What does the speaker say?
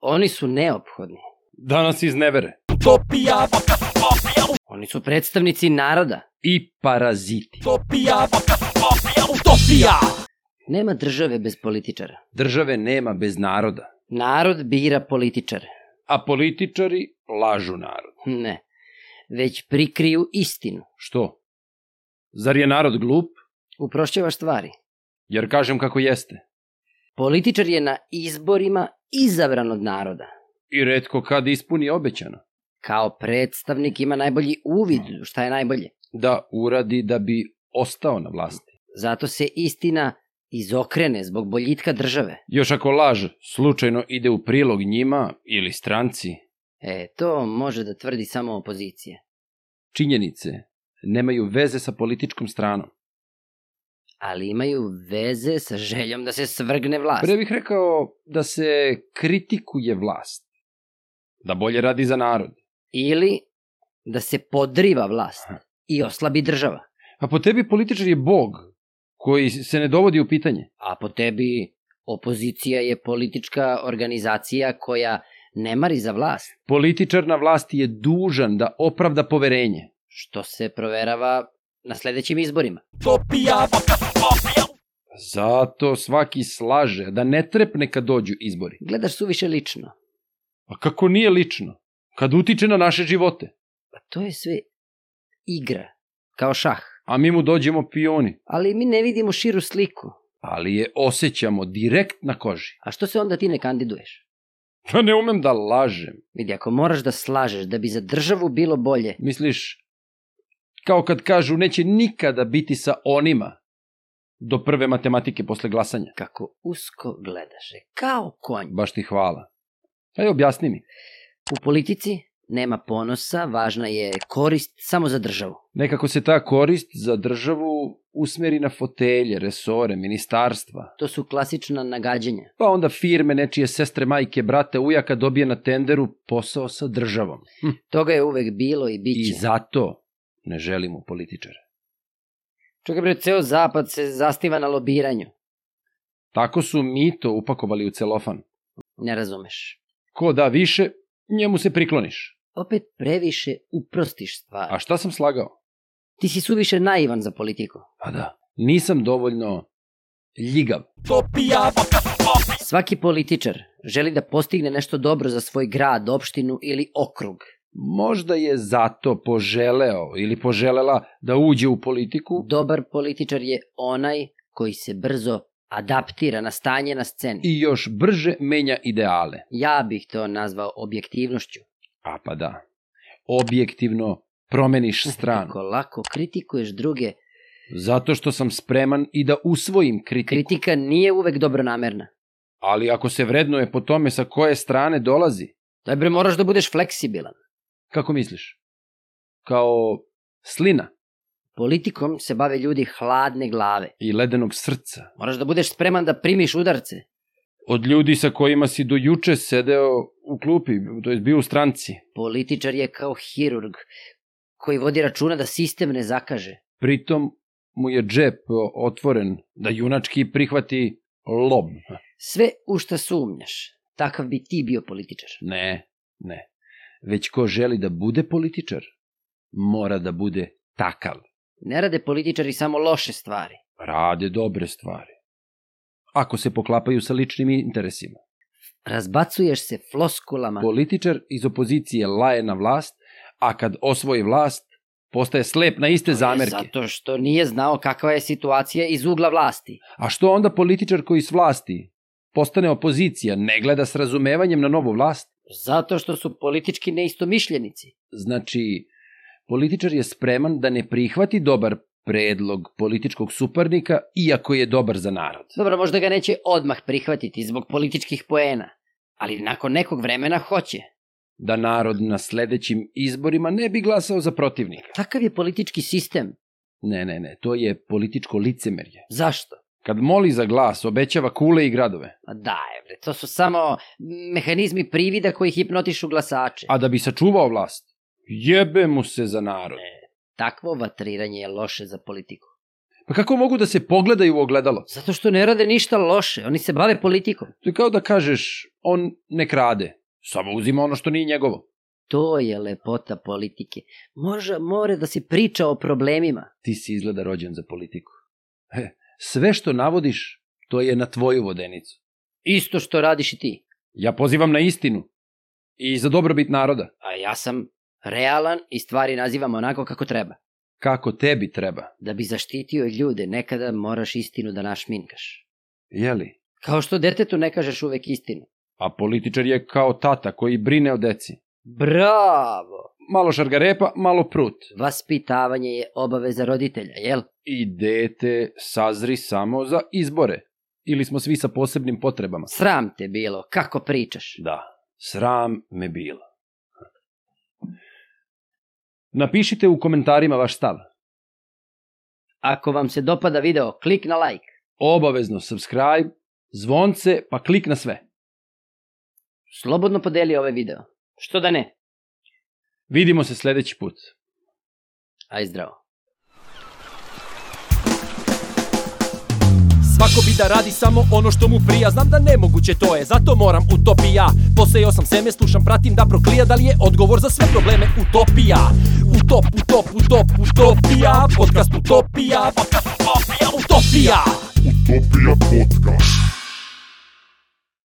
Oni su neophodni. Danas iz nevere. Utopija, Oni su predstavnici naroda. I paraziti. utopija, utopija. Nema države bez političara. Države nema bez naroda. Narod bira političare. A političari lažu narod. Ne. Već prikriju istinu. Što? Zar je narod glup? Uprošćavaš stvari. Jer kažem kako jeste. Političar je na izborima izabran od naroda. I redko kad ispuni obećano. Kao predstavnik ima najbolji uvid u šta je najbolje. Da uradi da bi ostao na vlasti. Zato se istina izokrene zbog boljitka države. Još ako laž slučajno ide u prilog njima ili stranci, E, to može da tvrdi samo opozicija. činjenice nemaju veze sa političkom stranom. Ali imaju veze sa željom da se svrgne vlast. Pre bih rekao da se kritikuje vlast. Da bolje radi za narod. Ili da se podriva vlast i oslabi država. A po tebi političar je bog koji se ne dovodi u pitanje. A po tebi, opozicija je politička organizacija koja ne mari za vlast, Političar na vlasti je dužan da opravda poverenje. što se proverava na sledećim izborima. Utopija, Zato svaki slaže da ne trepne kad dođu izbori. Gledaš suviše lično. A kako nije lično? Kad utiče na naše živote. Pa to je sve igra, kao šah. A mi mu dođemo pioni. Ali mi ne vidimo širu sliku. Ali je osjećamo direkt na koži. A što se onda ti ne kandiduješ? Ja ne umem da lažem. Vidi, ako moraš da slažeš da bi za državu bilo bolje, Misliš, kao kad kažu neće nikada biti sa onima do prve matematike posle glasanja. kako usko gledaš je, kao konj. Baš ti hvala. Ajde, objasni mi. U politici nema ponosa, važna je korist samo za državu. Nekako se ta korist za državu usmeri na fotelje, resore, ministarstva. To su klasična nagađanja. Pa onda firme nečije sestre, majke, brate, ujaka dobije na tenderu posao sa državom. Hm. Toga je uvek bilo i I biće. zato ne želimo političare. Čekaj bre, ceo zapad se zastiva na lobiranju. Tako su mi to upakovali u celofan. Ne razumeš. Ko da više, njemu se prikloniš. Opet previše uprostiš stvar. A šta sam slagao? Ti si suviše naivan za politiku. Pa da. Nisam dovoljno ljigav. utopija, Svaki političar želi da postigne nešto dobro za svoj grad, opštinu ili okrug. Možda je zato poželeo ili poželela da uđe u politiku Dobar političar je onaj koji se brzo adaptira na stanje na sceni. i još brže menja ideale. Ja bih to nazvao objektivnošću. A pa da. Objektivno promeniš stranu. Tako Znači, lako kritikuješ druge. Zato što sam spreman i da usvojim kritiku. Kritika nije uvek dobronamerna. Ali ako se vrednuje po tome sa koje strane dolazi, Daj bre, moraš da budeš fleksibilan. kako misliš? Kao slina Politikom se bave ljudi hladne glave. i ledenog srca. Moraš da budeš spreman da primiš udarce. Od ljudi sa kojima si do juče sedeo u klupi, to je bio u stranci. Političar je kao hirurg koji vodi računa da sistem ne zakaže. Pritom mu je džep otvoren da junački prihvati lob. Sve u šta sumnjaš, takav bi ti bio političar. Ne, ne. Već ko želi da bude političar, mora da bude takav. Ne rade političari samo loše stvari. rade dobre stvari. Ako se poklapaju sa ličnim interesima. Razbacuješ se floskulama. Političar iz opozicije laje na vlast, a kad osvoji vlast, postaje slep na iste zamerke. Zato što nije znao kakva je situacija iz ugla vlasti. A što onda političar koji s vlasti postane opozicija, ne gleda s razumevanjem na novu vlast? Zato što su politički neistomišljenici. Znači, političar je spreman da ne prihvati dobar predlog političkog suparnika, iako je dobar za narod. Dobro, možda ga neće odmah prihvatiti zbog političkih poena, ali nakon nekog vremena hoće. Da narod na sledećim izborima ne bi glasao za protivnika. Takav je politički sistem. Ne, ne, ne, to je političko licemerje. Zašto? Kad moli za glas, obećava kule i gradove. Ma daj, bre, to su samo mehanizmi privida koji hipnotišu glasače. A da bi sačuvao vlast, jebe mu se za narod. Takvo vatriranje je loše za politiku. Pa kako mogu da se pogledaju u ogledalo? Zato što ne rade ništa loše, oni se bave politikom. To je kao da kažeš, on ne krade, samo uzima ono što nije njegovo. To je lepota politike. Može, more da se priča o problemima. Ti si izgleda rođen za politiku. He, sve što navodiš, to je na tvoju vodenicu. Isto što radiš i ti. Ja pozivam na istinu i za dobrobit naroda, A ja sam realan i stvari nazivam onako kako treba. kako tebi treba. Da bi zaštitio ljude, nekada moraš istinu da našminkaš. Jeli? Kao što detetu ne kažeš uvek istinu. A političar je kao tata koji brine o deci. Bravo! Malo šargarepa, malo prut. Vaspitavanje je obaveza roditelja, jel? I dete sazri samo za izbore. Ili smo svi sa posebnim potrebama. Sram te bilo, kako pričaš? Da, sram me bilo. Napišite u komentarima vaš stav. Ako vam se dopada video, klik na like. Obavezno subscribe, zvonce, pa klik na sve. Slobodno podeli ovaj video. Što da ne? Vidimo se sledeći put. Aj zdravo. Svako bi da radi samo ono što mu prija Znam da nemoguće to je, zato moram utopija Posejao sam seme, slušam, pratim da proklija Da li je odgovor za sve probleme utopija Utop, utop, utop, utopija Podcast utopija Podcast utopija Utopija Utopia Podcast.